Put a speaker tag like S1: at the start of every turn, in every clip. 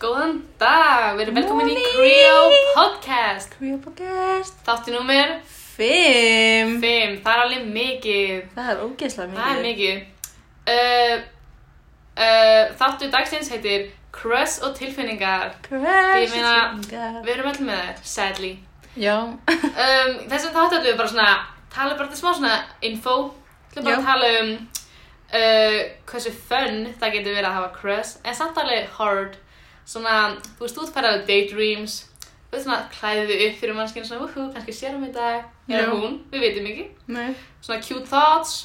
S1: Góðan dag, við erum velkomin í
S2: Morning.
S1: Creole Podcast
S2: Creo Podcast
S1: Þáttu númer
S2: 5
S1: 5, það er alveg mikið
S2: Það er ógeðslega mikið
S1: Það er mikið uh, uh, Þáttu dagsins heitir Crush og tilfinningar
S2: Crush
S1: Ég meina-
S2: meina
S1: Við erum öll með þær, sadly
S2: Já
S1: um, Þessum þáttu ætlum við bara svona tala bara til smá svona info Ætlum bara
S2: Já.
S1: að tala um uh, hversu fun það getur verið að hafa crush en samt alveg hard svona, þú veist, útfæraðu daydreams þú veist svona, klæðið þið upp fyrir mannskinu svona, úhú, kannski sér hún í dag eða
S2: Já.
S1: hún, við veitum ekki
S2: Nei
S1: svona cute thoughts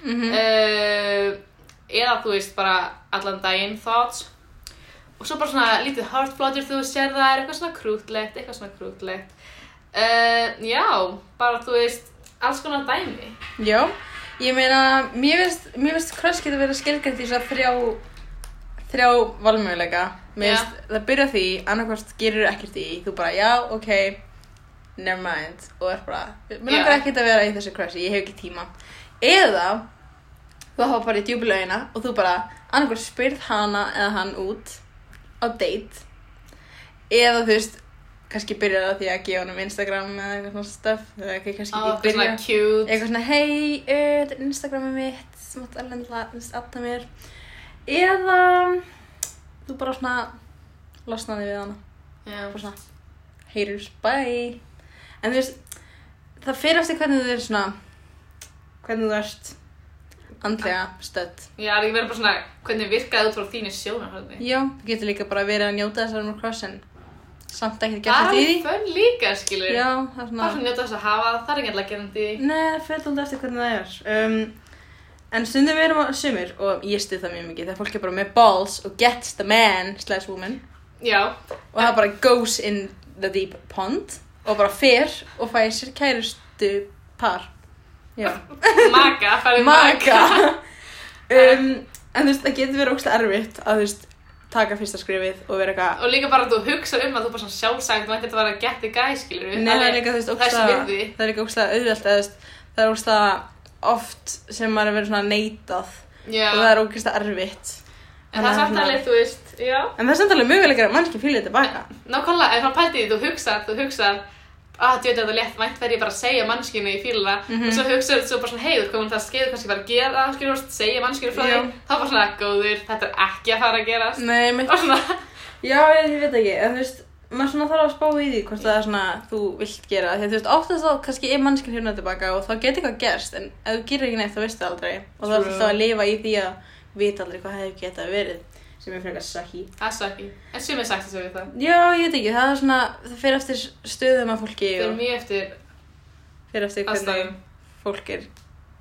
S2: mm
S1: uh, eða þú veist, bara allan daginn thoughts og svo bara svona lítið heart flutter þú sér það er eitthvað svona krútlegt, eitthvað svona krútlegt uh, já, bara þú veist alls konar dæmi
S2: Já Ég meina Mér finnst Mér finnst Crush getur verið skilgjönd í svo þrjá Þrjá valmöguleika Mér
S1: Já.
S2: finnst Það byrja á því Annarkvæmst gerir ekkert í Þú bara já, ok Never mind Og er bara Mér
S1: Já.
S2: langar ekkert að vera í þessu Crush Ég hef ekki tíma Eða þú hafa bara í djúbulauðina og þú bara annarkur spyrð hana eða hann út á date eða þú veist kannski byrjar á því að gefa honum Instagram eða eitthvað svona stuff eða ekki- kannski
S1: og
S2: ekki
S1: eitthvað
S2: byrja
S1: svona cute
S2: eitthvað svona hei, uh, þetta er Instagramið mitt sem átt alveg alltaf mér eða þú bara svona losnaði við hana
S1: já,
S2: bara svona haters, bye en þú veist það fyrir eftir hvernig þú er svona hvernig þú ert andlega stödd
S1: Já, það er ekki verið bara svona, hvernig virkaði út frá þínu sjónarhörni?
S2: já, þú getur líka bara verið að njóta þessar um cross en samt ekkert
S1: Það er
S2: gert þetta í
S1: alveg fönn líka, skilur.
S2: því já, Mm. það er
S1: Það er svona
S2: svona
S1: njóta þess að hafa það, það er ekki alltaf gerandi.
S2: Nei, það fyrir alltaf eftir hvernig það er um, en stundum við erum sumir og ég stuð það mjög mikið þegar fólk er bara með balls og gets the man slash woman
S1: Já,
S2: og það bara goes in the deep pond og bara fer og fæ sér kærustu par já,
S1: maka, farið
S2: maka um, en þú veist, það getur verið ógst erfitt að þú veist, taka fyrsta skrifið og vera eitthvað
S1: Og líka bara að þú hugsa um að þú bara svona sjálfsagt, þú ætti að vera að geta í gæ, skilur.
S2: Nei, það er líka, þú veist, ógst
S1: Þessi virði.
S2: það er líka ógst auðvelt eða þú veist, það er ógst oft sem maður er verið svona neitað
S1: Já,
S2: og það er ógst erfitt
S1: en það er samt
S2: svona-
S1: alveg, þú veist, já.
S2: en það er samt alveg möguleikar að mannski fylgja tilbaka
S1: Nákvæmlega, en svona pæltið, þú hugsar, þú hugsar, að djöðu þetta er létt vænt verði ég bara að segja mannskinu í fíla
S2: Mhm.
S1: og svo hugsaðu svo bara svona heiður komin það skeiður kannski bara að gera það, skilur, segja mannskinu frá því
S2: Já. Mhm.
S1: þá bara svona góður, þetta er ekki að fara að gerast
S2: Nei, mitt
S1: og svona
S2: Já, ég, ég veit ekki, en þú veist, maður svona þarf að spá í því hvort það er svona þú vilt gera því að þú veist, oftast þá kannski er mannskinn hérna tilbaka og þá getur eitthvað gerst, en ef þú gerir ekki neitt þá veistu það aldrei og þá
S1: True.
S2: er alltaf að lifa í því að vita aldrei hvað hefur getað verið sem er frekar sakki
S1: Það er svo ekki. En sumir sagt þessu við það.
S2: Já, ég veit ekki, það er svona, það fer eftir stöðum að fólki
S1: Það er
S2: og
S1: mjög eftir
S2: fer eftir hvernig
S1: aðstæðum.
S2: fólk er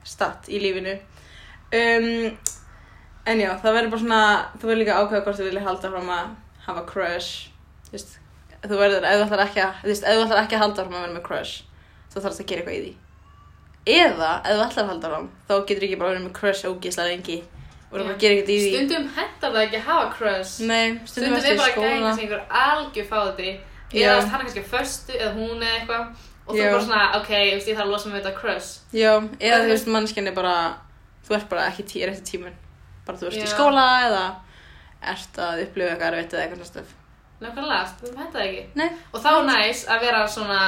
S2: statt í lífinu um, en já, það verður bara svona þú verður líka að ákveða hvort þú vilja halda fram að hafa crush þú veist, þú verður, ef þú ætlar ekki að þú veist, ef þú ætlar ekki að halda fram að vera með crush þá þarfst að gera eitthvað í því eða, ef þú ætlar að halda fram þá getur ekki bara verið með crush ógislega lengi og þú bara gera eitthvað í því
S1: Stundum hentar það ekki að hafa crush.
S2: Nei, stundum,
S1: Stundum
S2: stundum
S1: er bara gæðin
S2: skóla
S1: sem einhver algjör fáði.
S2: Já.
S1: Eða þú veist, hann er kannski förstu eða hún eða eitthvað. Og þú
S2: Já.
S1: er bara svona, ok, ég veist, ég þarf að losa mig við þetta crush.
S2: já, eða þú veist, mannskjarni bara þú ert bara ekki tíu eftir tímun bara þú ert
S1: Já.
S2: í skóla eða ert að upplifa eitthvað erfitt eða eitthvað stöf
S1: Nákvæmlega, stundum hentar það ekki.
S2: Nei,
S1: Og þá er næs að vera svona,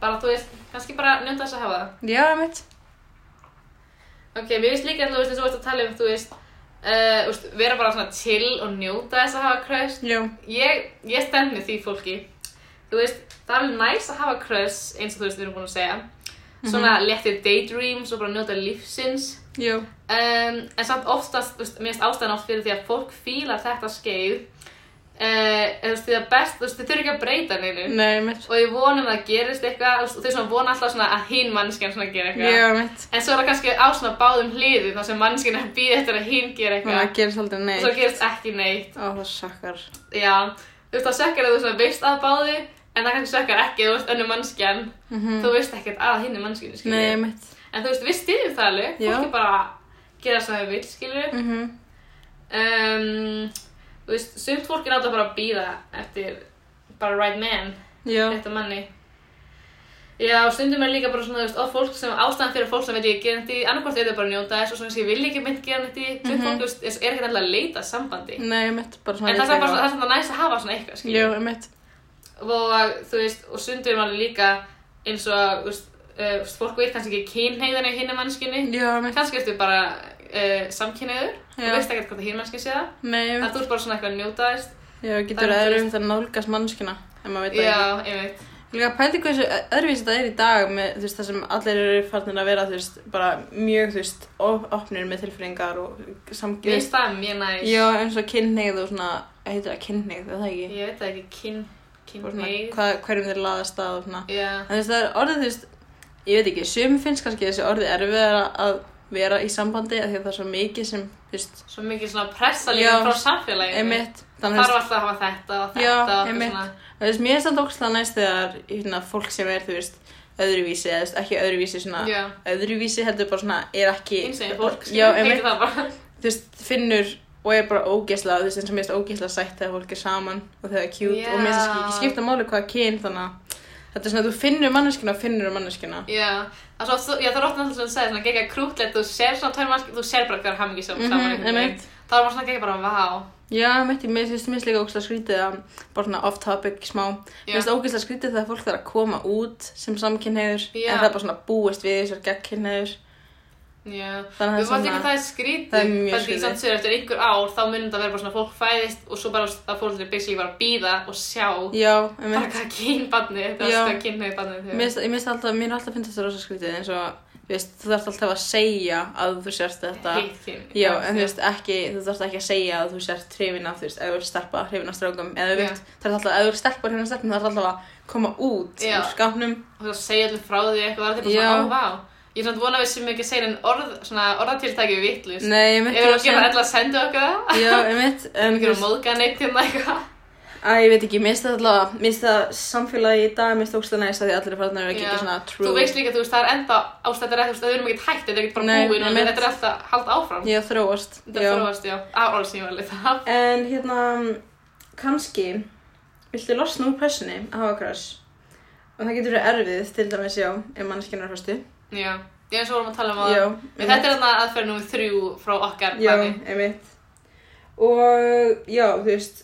S1: bara þú veist, kannski bara njóta þess að hafa það.
S2: já, mitt.
S1: Ok, mér finnst líka að þú veist, eins og þú veist að tala um, þú veist, uh, úst, vera bara svona chill og njóta þess að hafa crush.
S2: Já.
S1: ég, ég stend með því fólki þú veist, það er alveg næs að hafa crush eins og þú veist við erum búin að segja svona léttir daydreams og bara njóta lífsins
S2: Já.
S1: um, en samt oftast, þú veist, mér finnst ástæðan oft fyrir því að fólk fílar þetta skeið uh, en þú veist, því að best þú veist, þið þurfum ekki að breyta neinu
S2: Nei, mitt.
S1: og ég vonum að það gerist eitthvað þú veist, og þau svona vona alltaf svona að hinn mannskjan svona gera eitthvað
S2: Já, mitt.
S1: en svo er það kannski á svona báðum hliðum þar sem mannskjan er að býða eftir að hinn gera
S2: Þannig að
S1: eitthvað
S2: gerist aldrei
S1: og svo
S2: neitt.
S1: gerist ekki neitt
S2: Ó, það sakkar.
S1: Já, þú veist það sökkar að þú svona veist að báði en það kannski sökkar ekki, þú veist önnu mannskjan þú veist ekkert að hinni mannskjunni, skilur
S2: Mhm. Mm. Nei, mitt.
S1: en þú veist, við styðjum það alveg
S2: Já.
S1: fólk er bara að gera sem þau vil, skilur
S2: Mm
S1: um, þú veist, sumt fólk er átt að bara býða eftir bara right man
S2: Já.
S1: rétta manni Já, stundum er líka bara svona, þú veist, of fólk sem ástæðan fyrir fólk sem veit ég gera neitt í, annarkvort er þau bara að njóta þess og svona sem ég vil ekki mynd gera neitt í,
S2: Mhm.
S1: þau fólk, þú veist, er ekki alltaf að leita að sambandi.
S2: Nei, ég mitt bara svona
S1: En það er bara það er svona næst að hafa svona eitthvað,
S2: Jú,
S1: skiljum.
S2: ég mitt
S1: Og þú veist, og stundum er mann líka eins og, þú veist, uh, þú veist, fólk veit kannski ekki kynheiðan í hinni mannskinni,
S2: Jú, ég mitt
S1: kannski ertu bara uh, samkynheiður og
S2: Já.
S1: veist ekkert hvort að hinn mannskinn sé það.
S2: Nei, ég
S1: Það þú
S2: mitt
S1: ert bara svona eitthvað að njóta þess.
S2: Já, getur
S1: Það er-
S2: öðrum þetta nálgast mannskina ef maður veit það ekki
S1: Já, einmitt.
S2: Líka pældi hversu öðruvísi þetta er í dag með þú veist, það sem allir eru farnir að vera þú veist, bara mjög þú veist, op- opnir með tilfinningar og
S1: Mér
S2: samgjörð.
S1: finnst það mjög næst.
S2: Já, eins og kynneigð og svona, heitir það kynneigð, er það ekki?
S1: Ég veit það ekki, kyn,
S2: Og svona,
S1: kynneið.
S2: hvað, hverjum þeir laðast að og svona.
S1: Já,
S2: En þú veist, það er orðið, þú veist, ég veit ekki, sum finnst kannski þessi orðið erfiðara að vera í sambandi af því að það er svo mikið sem, þú veist,
S1: svo mikið svona pressa líka
S2: Já.
S1: frá samfélaginu.
S2: emitt.
S1: Þarf
S2: Þannig, þú veist,
S1: alltaf að hafa þetta og þetta
S2: Já,
S1: og eitthvað
S2: einmitt.
S1: svona.
S2: þú veist, mér er samt ógstlega næst þegar, hérna, fólk sem er, þú veist, öðruvísi, eða, þú veist, ekki öðruvísi, svona,
S1: Já,
S2: öðruvísi heldur bara svona, er ekki
S1: einsegin fólk,
S2: já,
S1: skilur,
S2: einmitt,
S1: heitir það bara.
S2: þú veist, finnur og er bara ógeðslega, þú veist, eins og mér finnst ógeðslega sætt þegar fólk er saman og þegar það er cute og mér finnst
S1: Já.
S2: ekki- ekki skipta máli hvaða kyn þannig að þetta er svona, þú finnur manneskina og finnur manneskina
S1: Já, það er svo, oft- já, það er ofta náttúrulega sem segir svona gegja krútlegt, þú sér svona tvær mannskip, þú sér bara hver hamingi sem
S2: Mhm,
S1: saman einhvern veginn.
S2: einmitt.
S1: Það er bara svona gegja bara, vá.
S2: Já, meitt, mér finnst mér finnst líka ógeðslega skrítið að bara svona off topic smá mér
S1: Já.
S2: finnst ógeðslega skrítið þegar fólk þarf að koma út sem samkynhneigður
S1: Já.
S2: en það er bara svona búist við þessar gegnkynhneigður
S1: Já, við
S2: Þannig að það er
S1: fannst ekki
S2: svona-
S1: að það er skrítið,
S2: það er mjög
S1: Þannig
S2: skrítið.
S1: samt sér eftir einhver ár, þá munum það vera bara svona fólk fæðist og svo bara að fólk er basically bara að býða og sjá
S2: Já,
S1: bara
S2: einmitt.
S1: hvað kynbarnið, þetta
S2: Já.
S1: er hvað kynnaði barnið
S2: Mér finnst- ég finnst alltaf, mér er alltaf að finna þetta rosa skrítið eins og, þú veist, þú þarft alltaf að segja að þú sérst þetta
S1: hitt kyn.
S2: Já, en þú veist ekki, þú þarfst ekki að segja að þú sért hrifin af, þú veist, eða þú ert stelpa, hrifin af strákum, eða þú
S1: Já.
S2: veist, það er alltaf, eða þú ert stelpa, hrifin af stelpum, það er alltaf að koma út
S1: Já.
S2: úr skápnum.
S1: og þú segja allir frá því eitthvað og það er
S2: Já.
S1: bara svona, ó, vá. Ég er svona vona að við sem ekki segja en orð, svona orðatiltæki við vittlust.
S2: Nei, ég
S1: Ef
S2: mitt,
S1: við erum að gera það, ætla að senda okkur það.
S2: Já, ég mitt,
S1: Við
S2: en
S1: erum
S2: þú
S1: að
S2: veist,
S1: móðga neitt hérna eitthvað.
S2: að ég veit ekki, mista alltaf, mista samfélagi í dag, mista ógstlega næst að því allir er farin að vera að
S1: Já.
S2: gera svona true.
S1: Þú veist líka, þú veist, það er enda ástættir eftir, þú veist, við erum ekkert hægt, þetta er ekkert bara
S2: Nei,
S1: búin og
S2: einmitt.
S1: þetta er alltaf að halda áfram.
S2: Ég þróast.
S1: Þetta
S2: já.
S1: er þróast, já. Á orð sem ég var að lita.
S2: En hérna, kannski, viltu losna úr pressunni að hafa crush? Og það getur verið erfið, til dæmis, já, ef manneskinn er föstu.
S1: Já, ég eins og vorum að tala um að
S2: Já,
S1: Við þetta er þarna aðferð númið þrjú frá okkar
S2: Já,
S1: plani.
S2: einmitt. Og já, þú veist,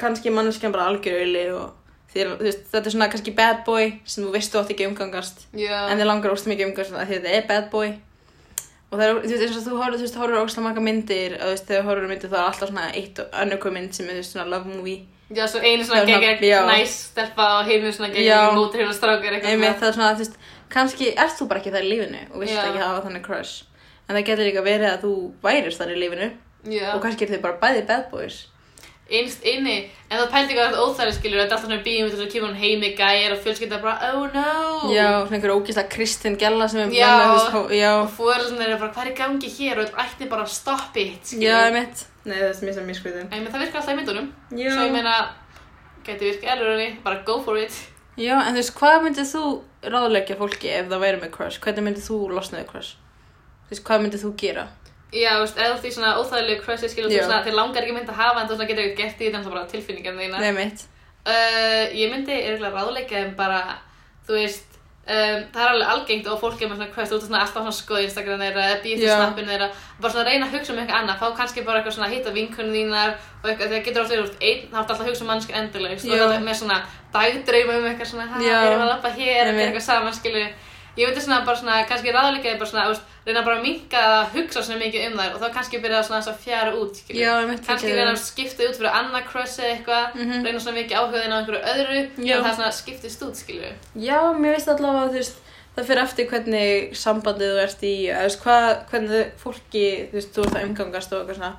S2: kannski manneskjan bara algjöruli og þér, þú veist, þetta er svona kannski bad boy sem þú veist þú átt ekki að umgangast.
S1: Já.
S2: En þið langar óstum ekki umgangast af því að þetta er bad boy. Og það er, þú veist, eins og þú horfður, þú veist, horfður óstum marga myndir og þú veist, þegar þú horfður á myndir þá er alltaf svona eitt og önnur hver mynd sem er, þú veist, svona love movie.
S1: Já, svo einu svona
S2: Það er svona- já.
S1: geggjör næs stelpa og hinu svona
S2: Já.
S1: geggjör mótur hérna strákar eitthvað.
S2: Einmitt,
S1: svona.
S2: það er svona, þú veist, kannski ert þú bara ekki það í lífinu og vilt
S1: Já.
S2: ekki hafa þannig crush. En það getur líka verið að þú værir þar í lífinu
S1: Já.
S2: og kannski er þið bara bæði bad boys.
S1: Einst inni, en það pældi ekki að þetta óþæri skilur, þetta er alltaf svona bíum, þetta er kemur hún heimi gæjar og fjölskylda bara, oh no.
S2: Já, svona einhver ógísla Kristinn Gjalla sem er
S1: Já.
S2: búin að þú veist, já,
S1: Og fóreldarnir eru bara, hvað er í gangi hér og ætti bara að stop it, skilur.
S2: já, mitt. Nei, það er mjög sem mjög skvitið.
S1: En ég meina, það virkar alltaf í myndunum.
S2: Já.
S1: Svo ég meina, gæti virkað erurunni, bara go for it.
S2: Já, en þú veist, hvað myndið þú ráðleggja fólki ef það væri með crush? Hvernig myndið þú losnaði crush? Þú veist, hvað myndið þú gera?
S1: Já, þú veist, eða þú ert í svona óþægilegu crushi, skilur, þú
S2: Já.
S1: svona, þér langar ekki mynd að hafa, en þú svona getur ekkert gert í þetta, en það er bara tilfinningan þína.
S2: Nei, mitt.
S1: Uh, ég myndi eiginlega ráðleika þeim bara, þú veist, um, það er alveg algengt og fólk er með svona quest út af svona alltaf svona skoði Instagram þeirra eða býð til
S2: Já.
S1: snappinu þeirra bara svona reyna að hugsa um eitthvað annað, þá kannski bara eitthvað svona að hitta vinkunum þínar og eitthvað, þegar getur alltaf verið út einn, þá er alltaf að hugsa um mannskinn endilegst og
S2: Já.
S1: þetta með svona dagdreima um eitthvað svona, hæ,
S2: Já.
S1: við erum að lappa hér og
S2: Einmitt.
S1: gera eitthvað saman, skilju Ég myndi svona bara svona, kannski ráðleika þeim bara svona, þú veist, reyna bara að minka að hugsa svona mikið um þær og þá kannski byrja það svona aðeins að fjara út, skilju
S2: Já, einmitt,
S1: kannski
S2: fyrir
S1: reyna
S2: það.
S1: að skipta út fyrir annað crush eða eitthvað,
S2: Mhm.
S1: reyna svona mikið áhugaðin á einhverju öðru,
S2: Já.
S1: en það er svona skiptist út, skilju við.
S2: Já, mér veist allavega að þú veist, það fyrir eftir hvernig sambandið þú ert í, eða þú veist, hvað, hvernig fólki, þú veist, þú ert að umgangast og eitthvað svona,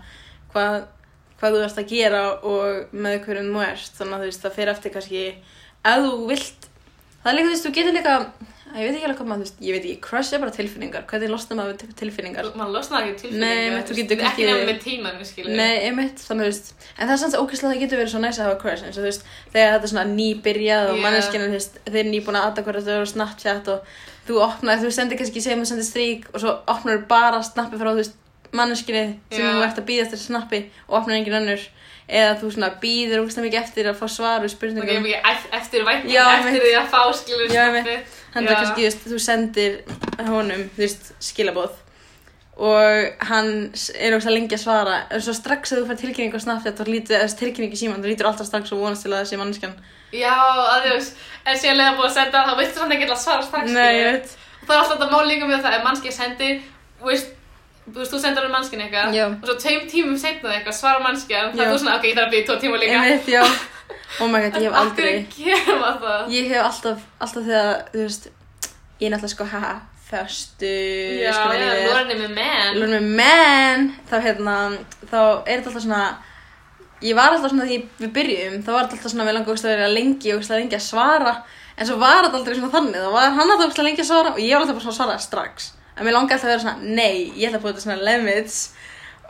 S2: hvað, hvað þú ert að gera og með hverjum þú ert, þannig að þú veist, það fyrir eftir kannski, ef þú vilt, það er líka, þú veist, þú getur líka, að ég veit ekki alveg hvað maður, þú veist, ég veit ekki, crush er bara tilfinningar, hvernig losna maður við til- tilfinningar?
S1: Man losnar ekki
S2: Nei,
S1: tilfinningar,
S2: einmitt, þú getur
S1: ekki
S2: kannski-
S1: nefnum með tímanum, skilju
S2: Nei, einmitt, þannig að þú veist, en það er sanns ógæslega það getur verið svo næs að hafa crush, eins og þú veist, þegar þetta er svona nýbyrjað
S1: Já.
S2: og yeah. manneskjarnir, þú veist, þeir eru nýbúin að adda hverju þau eru á Snapchat og þú opnar, þú sendir kannski, segjum þú sendir strík og svo opnar þú bara snappi frá, þú veist, manneskjarni sem
S1: Já.
S2: þú ert að býða eftir snappi og opnar engin önnur, eða þú svona býðir ógæslega mikið eftir að fá svar
S1: Það
S2: við
S1: er
S2: spurningum.
S1: mikið eft- eftir væntum,
S2: Já,
S1: eftir
S2: einmitt.
S1: því að fá, skilju
S2: Já,
S1: snappið.
S2: hann það
S1: Já.
S2: kannski, þú veist, þú sendir honum, þú veist, skilabóð og hann s- er ógst að lengi að svara en svo strax að þú fær tilkynningu á Snapchat þá lítið, eða tilkynningu í síman, þú lítur alltaf strax og vonast til að það sé mannskjan
S1: Já, að þú veist, en síðan leiða búið að senda þá veistu hann ekki að svara strax
S2: Nei, ég
S1: skilurðu.
S2: veit
S1: Og það er alltaf þetta mál líka með það ef mannskið sendir, þú veist, þú veist, þú sendur hann mannskinu eitthvað
S2: Já.
S1: og svo tveim tímum setna eitthvað svarar mannskið en það
S2: Já.
S1: er þú svona, ok, ég þarf að byrja tvo tíma líka
S2: Ég veit, já Oh my god, ég hef aldrei
S1: En af hverju gerir maður það?
S2: Ég hef alltaf, alltaf þegar, þú veist, ég er náttúrulega sko, haha, föstu,
S1: Já, já, lúrarni með menn
S2: lúrnum með menn, þá hérna, þá er þetta alltaf svona, ég var alltaf svona því við byrjum, þá var þetta alltaf svona, við langar ógustlega að vera lengi, ógustlega lengi að svara, en svo var þetta aldrei svona þannig, þá var hann alltaf ógustlega lengi að svara og ég var alltaf bara svona að svara strax, en mér langar alltaf að vera svona, nei, ég ætla að búið þetta svona limits,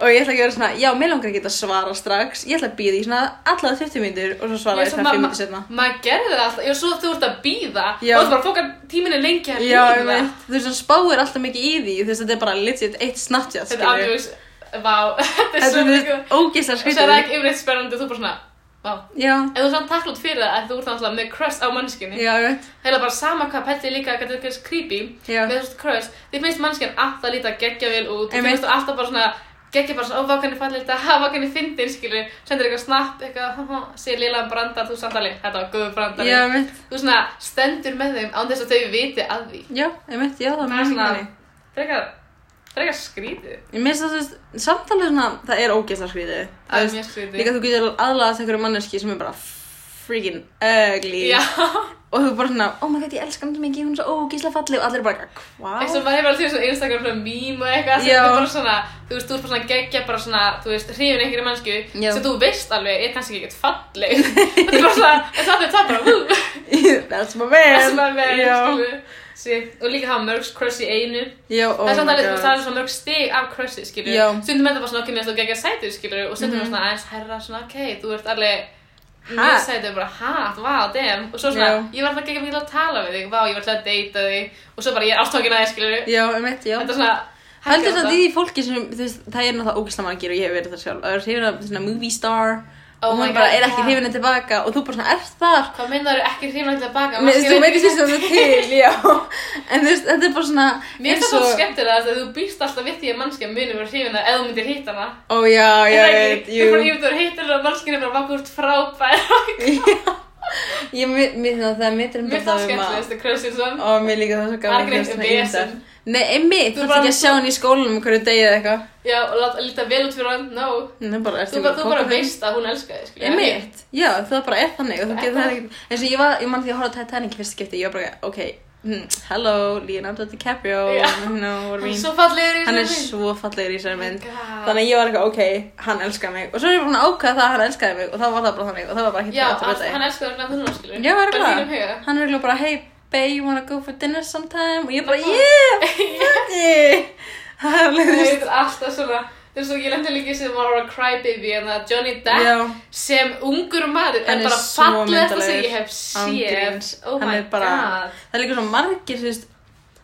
S2: Og ég ætla ekki að vera svona, já, mér langar ekki að svara strax, ég ætla að býða í svona allavega 20 mínútur og svo svara
S1: Ég
S2: ég
S1: svo
S2: svona 5
S1: mamma-
S2: mínútur setna.
S1: Maður gerði það alltaf, já, svo þú ert að býða og
S2: Já.
S1: þú ert bara að fóka tíminni lengi að
S2: Já, ég
S1: býða
S2: veit, þú veist, hann spáir alltaf mikið í því, þú veist, þetta er bara legit eitt Snapchat,
S1: Þetta er
S2: skilur
S1: alveg, vá, þetta er
S2: Þetta
S1: svo
S2: er
S1: mikið
S2: þetta
S1: Og
S2: ógeistar
S1: svo er
S2: skrítið.
S1: það ekki yfirleitt spennandi og þú bara svona, vá
S2: Já,
S1: En þú er svona takklátt fyrir það að þú ert náttúrulega með crush á mannskinni
S2: já, ég veit,
S1: Það er bara sama hvað pætti líka hvað þetta er creepy
S2: já.
S1: með þessu crush Þið finnst mannskinn alltaf líta geggja vel út og þið
S2: Einmitt.
S1: finnst þú alltaf bara svona geggja bara svona, ó, vá, hvernig fallir þetta, ha, vá, hvernig fyndin, skilur sendir eitthvað snapp, eitthvað, ha, ha, sé lila brandar, þú samt alveg, þetta var góður brandar
S2: Já, ég veit,
S1: Þú svona stendur með þeim án þess að þau viti að því
S2: já, ég veit, já, það er
S1: Það er
S2: mjög
S1: svona-
S2: minni.
S1: Frekar, frekar skrítið
S2: Ég minnst það, þú veist, samt alveg svona, það er ógeistar skrítið.
S1: Það er mjög skrítið
S2: Líka þú getur aðlagast einhverju manneski sem er bara freaking ugly.
S1: Já,
S2: Og þú bara svona, oh my god, ég elska hann svo mikið, hún er svo ógeislega falleg og allir bara, hvað?
S1: eins og maður hefur alveg séð svona Instagram svona mím og eitthvað sem
S2: Já.
S1: er bara svona, þú veist, þú er bara svona geggja bara svona, þú veist, hrifin einhverju mannsku
S2: Já.
S1: sem þú veist alveg er kannski ekkert falleg þetta er bara svona, en það er það bara hú,
S2: That's my man.
S1: það sem að vera,
S2: Já,
S1: skilju Sí, sko, og líka hafa mörg crush í einu
S2: já, oh
S1: það er samt
S2: my
S1: alveg, þú veist, það
S2: god.
S1: er svo mörg stig af crushi, skilju
S2: Já.
S1: stundum er það bara svona okkur með þú geggja sætur, skilju og stundum er
S2: Mhm.
S1: svona aðeins herra, svona, ok, þú ert alveg
S2: Ha?
S1: mjög sætur, bara, ha, vá, damn og svo svona,
S2: Já.
S1: ég var alltaf geggja mikið að tala við þig vá, ég var alltaf að deyta þig og svo bara, ég er ástókin að þig, skilju
S2: Já, ég veit, já.
S1: Þetta er svona
S2: Heldur þetta því fólki sem, þú veist, það er náttúrulega ógæslega margir og ég hef verið það sjálf. Það er hrifin af svona movie star
S1: Oh
S2: og hún bara er ekki hrifinni tilbaka og þú bara svona ert þar.
S1: Hvað minnar eru ekki hrifin alltaf baka?
S2: Með, þú veitir því sem þú til, já. En þú veist, þetta er bara svona
S1: Mér finnst það svo skemmtilega að þú býst alltaf við því að mannskja munir vera hrifin að eða þú myndir hitt hana
S2: Ó já, já,
S1: Er
S2: ég
S1: það
S2: veit,
S1: ekki? Þú
S2: jú.
S1: bara yfir þú eru hitt hana og mannskja er bara baka úr frábær
S2: Ég, mér, mér- það það er mitt um
S1: Mér finnst það skemmtilegast að Krössin svona
S2: Og mér líka það svo gaman
S1: Það er ekki
S2: að
S1: neitt
S2: svona
S1: vesen.
S2: ýmsar. Nei, einmitt,
S1: Þú
S2: þú
S1: bara-
S2: ert ekki að sjá hann í skólanum um hverju degið eða eitthvað.
S1: Já, og láta líta vel út fyrir hann, no
S2: Nei, bara ertu
S1: Þú bara,
S2: að
S1: þú bara
S2: poppa þeim.
S1: veist að hún elskar þig, skilja
S2: Einmitt, já, það bara er þannig og þú
S1: Það er
S2: getur það
S1: þannig.
S2: ekki eins og ég var, ég man því að horfa á Titanic í fyrsta skipti, ég var bara, ok, hmm, hello, Leonardo DiCaprio
S1: Já.
S2: you know what I
S1: Hann er
S2: mean
S1: svo fallegur í
S2: hann er
S1: þessari
S2: svo fallegur í sér mynd
S1: God.
S2: Ah. þannig að ég var eitthvað, ok, hann elskar mig og svo er ég búin að ákveða það að hann elskaði mig og þá var það bara þannig og það var bara hitt
S1: Já,
S2: eftir
S1: hann
S2: þetta
S1: hann elskar þig hann skilja
S2: Já,
S1: Bara í
S2: örugglega.
S1: þínum huga
S2: hann er eiginlega bara, hey, babe, you wanna go for dinner sometime og ég bara,
S1: Nákvæmlega.
S2: yeah, fuck it það er
S1: Það
S2: alveg,
S1: er alltaf svona, þú veist þú, ég lendi líka í sem var að crybaby en það Johnny
S2: þú
S1: Depp
S2: veist, já
S1: sem ungur maður
S2: Hann
S1: er
S2: er
S1: bara
S2: svo
S1: fallegasta sem
S2: myndarlegur.
S1: ég hef
S2: Án
S1: séð.
S2: gríns.
S1: Oh
S2: Hann
S1: my
S2: er bara-
S1: god.
S2: það er líka svo margir, þú veist,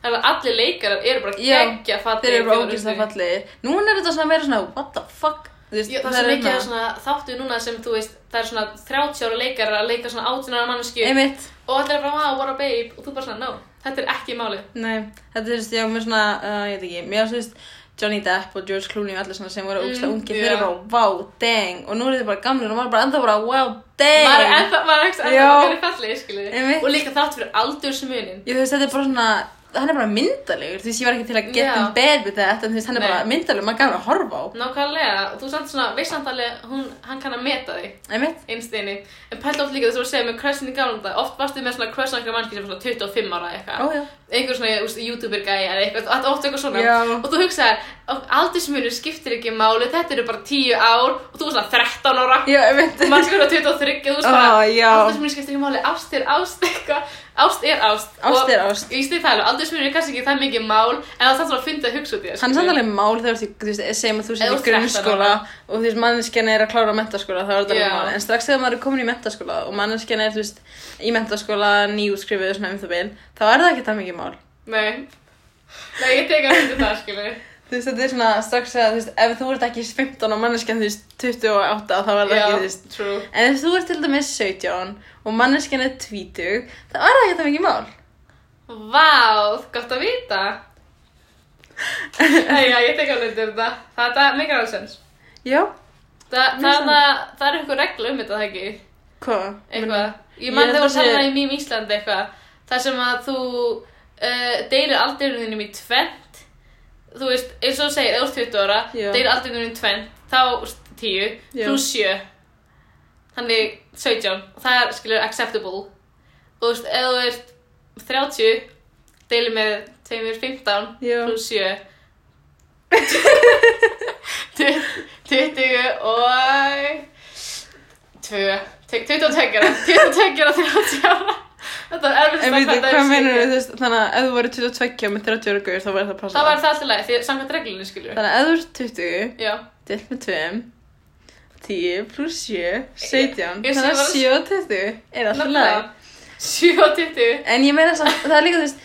S1: Það er allir leikarar eru bara
S2: Já,
S1: geggja
S2: Þeir
S1: fallegir. sko.
S2: eru bara ógeðslega fallegir. Núna er þetta svona meira svona, what the fuck? Þú veist,
S1: Já, það
S2: þær
S1: er svo
S2: eru hérna.
S1: mikið af svona þáttu núna sem þú veist, það er svona 30 ára leikarar að leika svona 18 ára mannsku
S2: Einmitt.
S1: og allir er bara, wow, what a babe og þú bara svona, no, þetta er ekki málið.
S2: Nei, þetta er, þú veist, já, mér svona, uh, ég veit ekki, mér þú veist, Johnny Depp og George Clooney og allir svona sem voru
S1: Mm,
S2: ógeðslega ungir,
S1: já.
S2: þeir eru bara, wow, dang, og nú eru þeir bara gamlir og maður er bara enda bara, wow, dang.
S1: Maður er ennþá, maður er ekki ennþá,
S2: Já.
S1: maður er fallegir, skiljuði.
S2: Einmitt.
S1: Og líka þátt fyrir aldursmunin.
S2: Ég, þú veist, þetta er bara svona, hann er bara myndalegur, þú veist, ég var ekki til að
S1: Já.
S2: geta um bed við þetta, en þú veist, hann er
S1: Nei.
S2: bara myndalegur, maður gafur að horfa á.
S1: Nákvæmlega, og þú samt svona, veist samt alveg, hún, hann kann að meta þig.
S2: Einmitt.
S1: einstinni en pælt oft líka þess að segja með crushin í gamla dag oft varstu með svona crush á einhverja mannski sem var svona 25 ára eða
S2: Ó,
S1: eitthvað
S2: já.
S1: einhver svona úst, youtuber gæja eða eitthvað allt oft eitthvað svona
S2: Já.
S1: og þú hugsaðir aldursmunur skiptir ekki máli þetta eru bara 10 ár og þú er svona 13 ára
S2: Já, einmitt.
S1: og mannski verður 23 og þú er
S2: Ó,
S1: svona
S2: já.
S1: aldursmunur skiptir ekki máli ást er ást eitthvað ást er ást
S2: Ást er ást.
S1: og ég stið það alveg aldursmunur er kannski ekki það mikið mál en það er samt svona að finna að hugsa út í það
S2: Hann er
S1: skilur.
S2: samt alveg mál þegar þú, þú veist, segjum að þú
S1: Ef
S2: sér
S1: þú
S2: í
S1: ert
S2: grunnskóla
S1: 13
S2: og þú veist, manneskjana er að klára mentaskóla, það var þetta
S1: Já.
S2: alveg mál. En strax þegar maður er komin í mentaskóla og manneskjana er, þú veist, í mentaskóla, nýjútskrifuð og svona um það bil, þá er það ekki það mikið mál.
S1: nei nei ég tek að finna það skilur
S2: Þú veist, þetta er svona strax þegar, þú veist, ef þú ert ekki 15 og manneskjan, þú veist, 28, þá er það ekki, þú veist.
S1: já true
S2: En ef þú ert til dæmis 17 og manneskjana er 20, þá er það ekki það mikið mál.
S1: Vá, gott að vita. Æja, ég tek alveg undir þetta. Þetta meikar alveg sens.
S2: Já,
S1: Þa,
S2: Mér
S1: það, það, það er eitthvað regla um þetta, það ekki?
S2: hvað?
S1: Eitthvað. Ég
S2: Ég
S1: man þegar
S2: held
S1: þú
S2: að sé-
S1: talaði í mým Íslandi eitthvað. þar sem að þú uh, deyrir aldrinum þínum í tvent. Þú veist, eins og þú segir, eða úr 20 ára,
S2: Já.
S1: deyrir aldrinum þínum í tvent, þá úst, 10,
S2: Já.
S1: pluss 7. Þannig 17. Það er, skilur, acceptable. Þú veist, ef þú ert 30, deilir með 2.15,
S2: Já.
S1: pluss 7. 20 og... Tvö. Te- 22 ára. 22 ára, 30 ára. Þetta var erfitt
S2: En veitu,
S1: þetta
S2: hvað
S1: er
S2: meinar
S1: skilið.
S2: þú veist, þannig að ef þú verður 22 með 30 ára gauður þá verður það
S1: Það
S2: passað.
S1: var það alltaf leið, því samkvæmt reglunni skilur.
S2: Þannig að ef þú verður 20,
S1: Já.
S2: delt með 2, 10 pluss 7,
S1: Ég-
S2: 17,
S1: ég
S2: þannig að
S1: sé
S2: 7 og 20 er alltaf
S1: Nákvæmlega.
S2: læg.
S1: 7 og 20.
S2: En ég meina samt, það er líka, þú veist,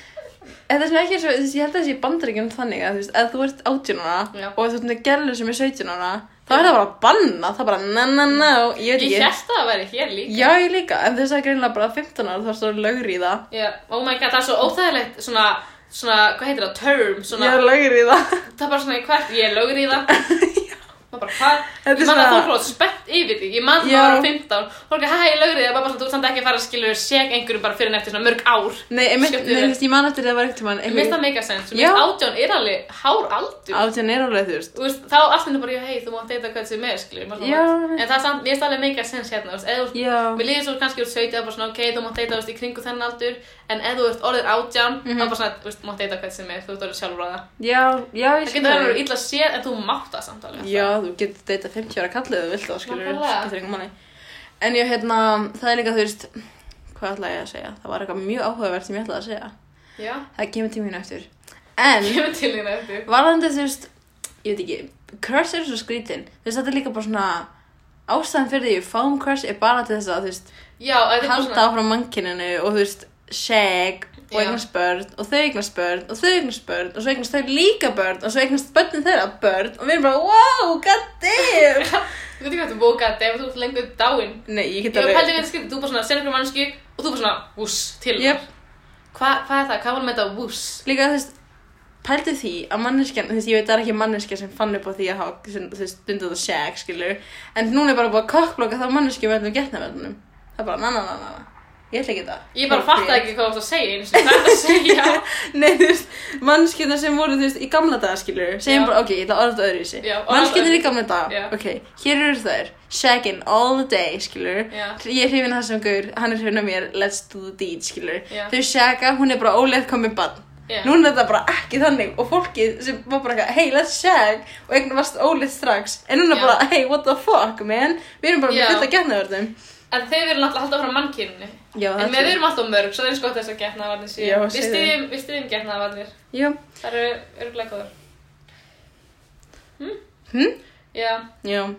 S2: þetta sem ekki er svo, þú veist, ég held að þessi bandaríkjum þannig að þú veist, ef þú ert 18 ára
S1: Já.
S2: og þú ert með gælur sem er 17 ára, þá er það bara að banna, það er bara na na na, ég veit
S1: Mm. Ég
S2: ekki.
S1: hérst að það væri hér líka.
S2: Já, ég líka, en þess að greinlega bara 15 ára þá er það lögri í það.
S1: Já. Oh my god, það er svo óþægilegt svona, svona, hvað heitir það, term, svona,
S2: Já, lögri í það.
S1: það er bara svona í hvert, ég er lögur í það. Má bara, hvað?
S2: Þetta
S1: Ég
S2: er
S1: man að
S2: svona-
S1: fólk var spennt yfir því, ég man það
S2: Já.
S1: að vera 15, fólk er hæ, ég lögur í það, bara svona, þú ert samt ekki að fara að skilja seg einhverjum bara fyrir en eftir svona mörg ár.
S2: Nei, einmitt,
S1: Skemmtileg.
S2: nei, þú veist, ég man eftir því að það var ekkert mann,
S1: Mér finnst það meika sens, mér
S2: Já.
S1: finnst átján er alveg hár aldur.
S2: Átján er alveg, þú veist.
S1: Þú veist, þá allt henni bara, já, hei, þú mátt deyta hvað sem er, skiljum, maður
S2: Já.
S1: svona, en það er samt, mér finnst alveg meika sens hérna, þú veist, eða,
S2: Já.
S1: mér líður svo kannski úr 17, bara svona, ok, þú mátt deyta, þú veist, í kringu þennan aldur, en eða þú ert orðin átján, þá bara svona, þú veist, þú mátt deyta hvað sem er, þú ert orðin sjálfráða.
S2: Já, já, Mhm. ég
S1: Það
S2: skil
S1: getur verið illa séð, en þú mátt það samt alveg.
S2: Já, þú getur deyta 50 ára kallið eða þú vilt það, skilur við,
S1: Nákvæmlega.
S2: skiptir engum manni. En já, hérna, það er líka, þú veist, hvað ætla ég að segja? Það var eitthvað mjög áhugavert sem ég ætlaði að segja.
S1: Já.
S2: Það kemur tíminu eftir. En,
S1: Ég kemur til þín eftir.
S2: varðandi, þú veist, ég veit ekki, crush er svo skrítin. Þú veist, þetta er líka bara svona, ástæðan fyrir því, fáum crush um er bara til þess að, þú veist,
S1: Já, og þetta er bara
S2: halda
S1: svona,
S2: áfram mannkininu og, þú veist, shag og
S1: Já.
S2: eignast börn og þau eignast börn og þau eignast börn og svo eignast þau líka börn og svo eignast börnin þeirra börn og við erum bara, wow, god damn
S1: þú getur ekki hægt að bóka þetta ef þú ert lengur dáin.
S2: Nei, ég
S1: Ég
S2: get
S1: var
S2: alveg
S1: pælið við þetta skrifið, þú bara svona, senir hverju mannsku og þú bara svona, wuss, til
S2: Jöp.
S1: hennar. Hva, hvað er það? Hvað var með þetta wuss?
S2: Líka þú veist, pældu því að manneskjan, þú veist, ég veit það er ekki manneskja sem fann upp á því að hafa, sem, þú veist, stundið það shag, skilur En núna er bara búið að kokkblokka þá manneskju með öllum getnaverðunum Það er bara, na na na na na, ég ætla ekki það
S1: Ég bara fattaði ekki hvað þú varst að segja eins og það er að segja.
S2: Nei, þú veist, manneskjuna sem voru, þú veist, í gamla daga, skilur Segjum
S1: Já.
S2: bara, ok, ég ætla að orða þetta
S1: Já,
S2: öðruvísi
S1: orða þetta
S2: Manneskjuna í
S1: öðruvísi.
S2: gamla daga,
S1: Já.
S2: ok, hér eru þær Shagging all the day, skilur
S1: Já.
S2: Ég er hrifin þessum gaur, hann er hrifin af mér Let's do the deed, skilur
S1: Já.
S2: Þau shagga, hún er bara óleitt komið bann
S1: Já.
S2: Núna er þetta bara ekki þannig og fólkið sem var bara eitthvað, hey let's shag og einhvern varst óleitt strax en núna
S1: Já.
S2: bara, hey what the fuck man við erum bara
S1: Já.
S2: með fulla getnaverðum
S1: En þeir eru náttúrulega að halda frá mannkyninu.
S2: Já,
S1: En við
S2: það er
S1: erum alltaf mörg, svo það er eins gott þess að getnaðvarnir
S2: Já,
S1: séu. Við
S2: segðu.
S1: styðjum, við styðjum getnaðvarnir.
S2: Já,
S1: um Það eru örgulega góður.
S2: hm?
S1: Já.
S2: Já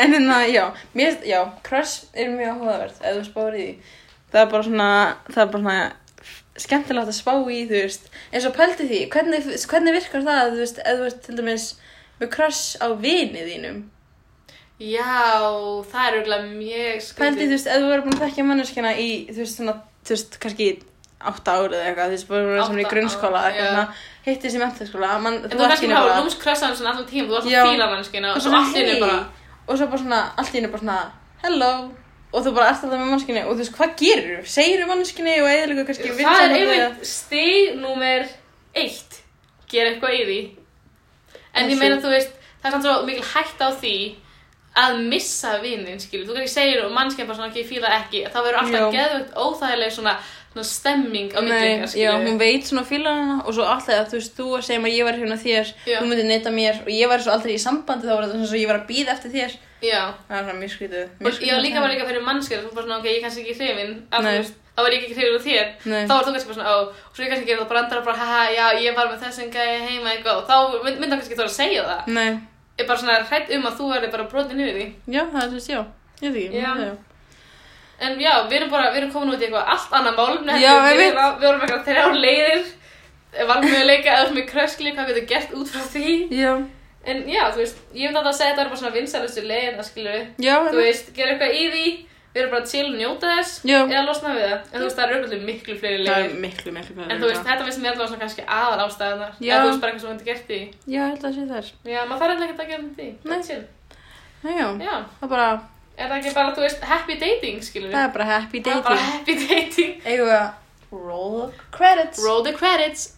S2: En hérna, já, mér, já, crush er mjög áhugaverð eða þú spáir í því Það er bara svona, það er bara svona skemmtilegt að spá í, þú veist eins og pælti því, hvernig, hvernig virkar það, þú veist, eða þú veist til dæmis með crush á vinið þínum
S1: Já, það er örgulega mjög
S2: Pældi,
S1: skrítið.
S2: þú veist, ef þú verður búin að þekkja manneskina í, þú veist, svona, þú veist, kannski í átta ára eða eitthvað, þú veist, búin að vera saman í
S1: Átta
S2: grunnskóla,
S1: ár,
S2: eitthvað,
S1: já.
S2: svona, hittir sem eftirskóla, mann,
S1: En þú kannski hafa
S2: bara-
S1: lúmskrössan svona allan tíma, þú varst
S2: Já.
S1: að fíla mannskina og svo allt í
S2: hey.
S1: hennu bara,
S2: og svo bara svona, allt í einu bara svona, hello, og þú bara ert alltaf með manneskinni, og þú veist, hvað gerir þú? Segir þú manneskinni og eðalega kannski
S1: það er
S2: vinsamlega-
S1: einmitt stig númer eitt gera eitthvað í því en
S2: Þessu.
S1: ég meina þú veist það er samt svo mikil hægt á því að missa vinnin skilur, þú kannski segir og mannskja bara svona ekki fíla ekki þá verður alltaf
S2: Já.
S1: geðvögt óþægileg svona, svona stemming á
S2: Nei,
S1: millingar
S2: já,
S1: skilur
S2: hún veit svona félagana og svo alltaf að þú veist, þú að segja mér að ég var hérna þér,
S1: Já.
S2: þú myndir neyta mér og ég var svo aldrei í sambandi þá var þetta svona svo ég var að býða eftir þér.
S1: já.
S2: Það er svona mjög skrítið.
S1: og
S2: mjög
S1: já,
S2: skrítið
S1: líka
S2: pæling.
S1: var líka fyrir mannskja þú bara svona ok, ég er kannski ekki hrifin af
S2: Nei.
S1: þú veist þá var ég ekki hrifin á þér
S2: Nei.
S1: þá var þú kannski bara svona, ó, og svo ég kannski gerir það bara andra bara, haha, já, ég var með þessum gæja heima eitthvað, og þá mynd- myndi hann kannski þú að segja það
S2: Nei,
S1: ég er bara svona hrætt um að þú verður bara brotin yfir því
S2: já, það er þú veist, já. Ég veit ekki,
S1: Já.
S2: það er já.
S1: en já, við erum bara, við erum komin út í eitthvað allt annað málumni
S2: Já,
S1: heldur en við
S2: einmitt.
S1: erum á- við vorum eitthvað þrjá leiðir valmöguleika eða með kröskli, hvað getur gert út frá því
S2: Já,
S1: en já, þú veist, ég myndi alltaf að segja þetta er bara svona vinsælustu leiðina, skilur við
S2: já,
S1: þú veist, gera eitthvað í því Við erum bara chill og njóta þess
S2: Já.
S1: eða losna við það. En þú veist, það eru auðvitað miklu fleiri
S2: Það
S1: leiðir.
S2: er miklu, miklu fleiri
S1: En þú veist, þetta finnst mér allavega svona kannski aðal ástæðunar.
S2: Já.
S1: Eða þú veist bara eitthvað sem þetta gert í.
S2: Já, ég held að það sé þær.
S1: Já, maður þarf eitthvað að gera með því. Bara
S2: Nei.
S1: Chill.
S2: Já, já.
S1: Já.
S2: Það er bara,
S1: Er það ekki bara, þú veist, happy dating, skilur
S2: það er bara happy
S1: bara
S2: dating.
S1: happy dating.
S2: Eigum við að roll the credits.
S1: Roll the credits.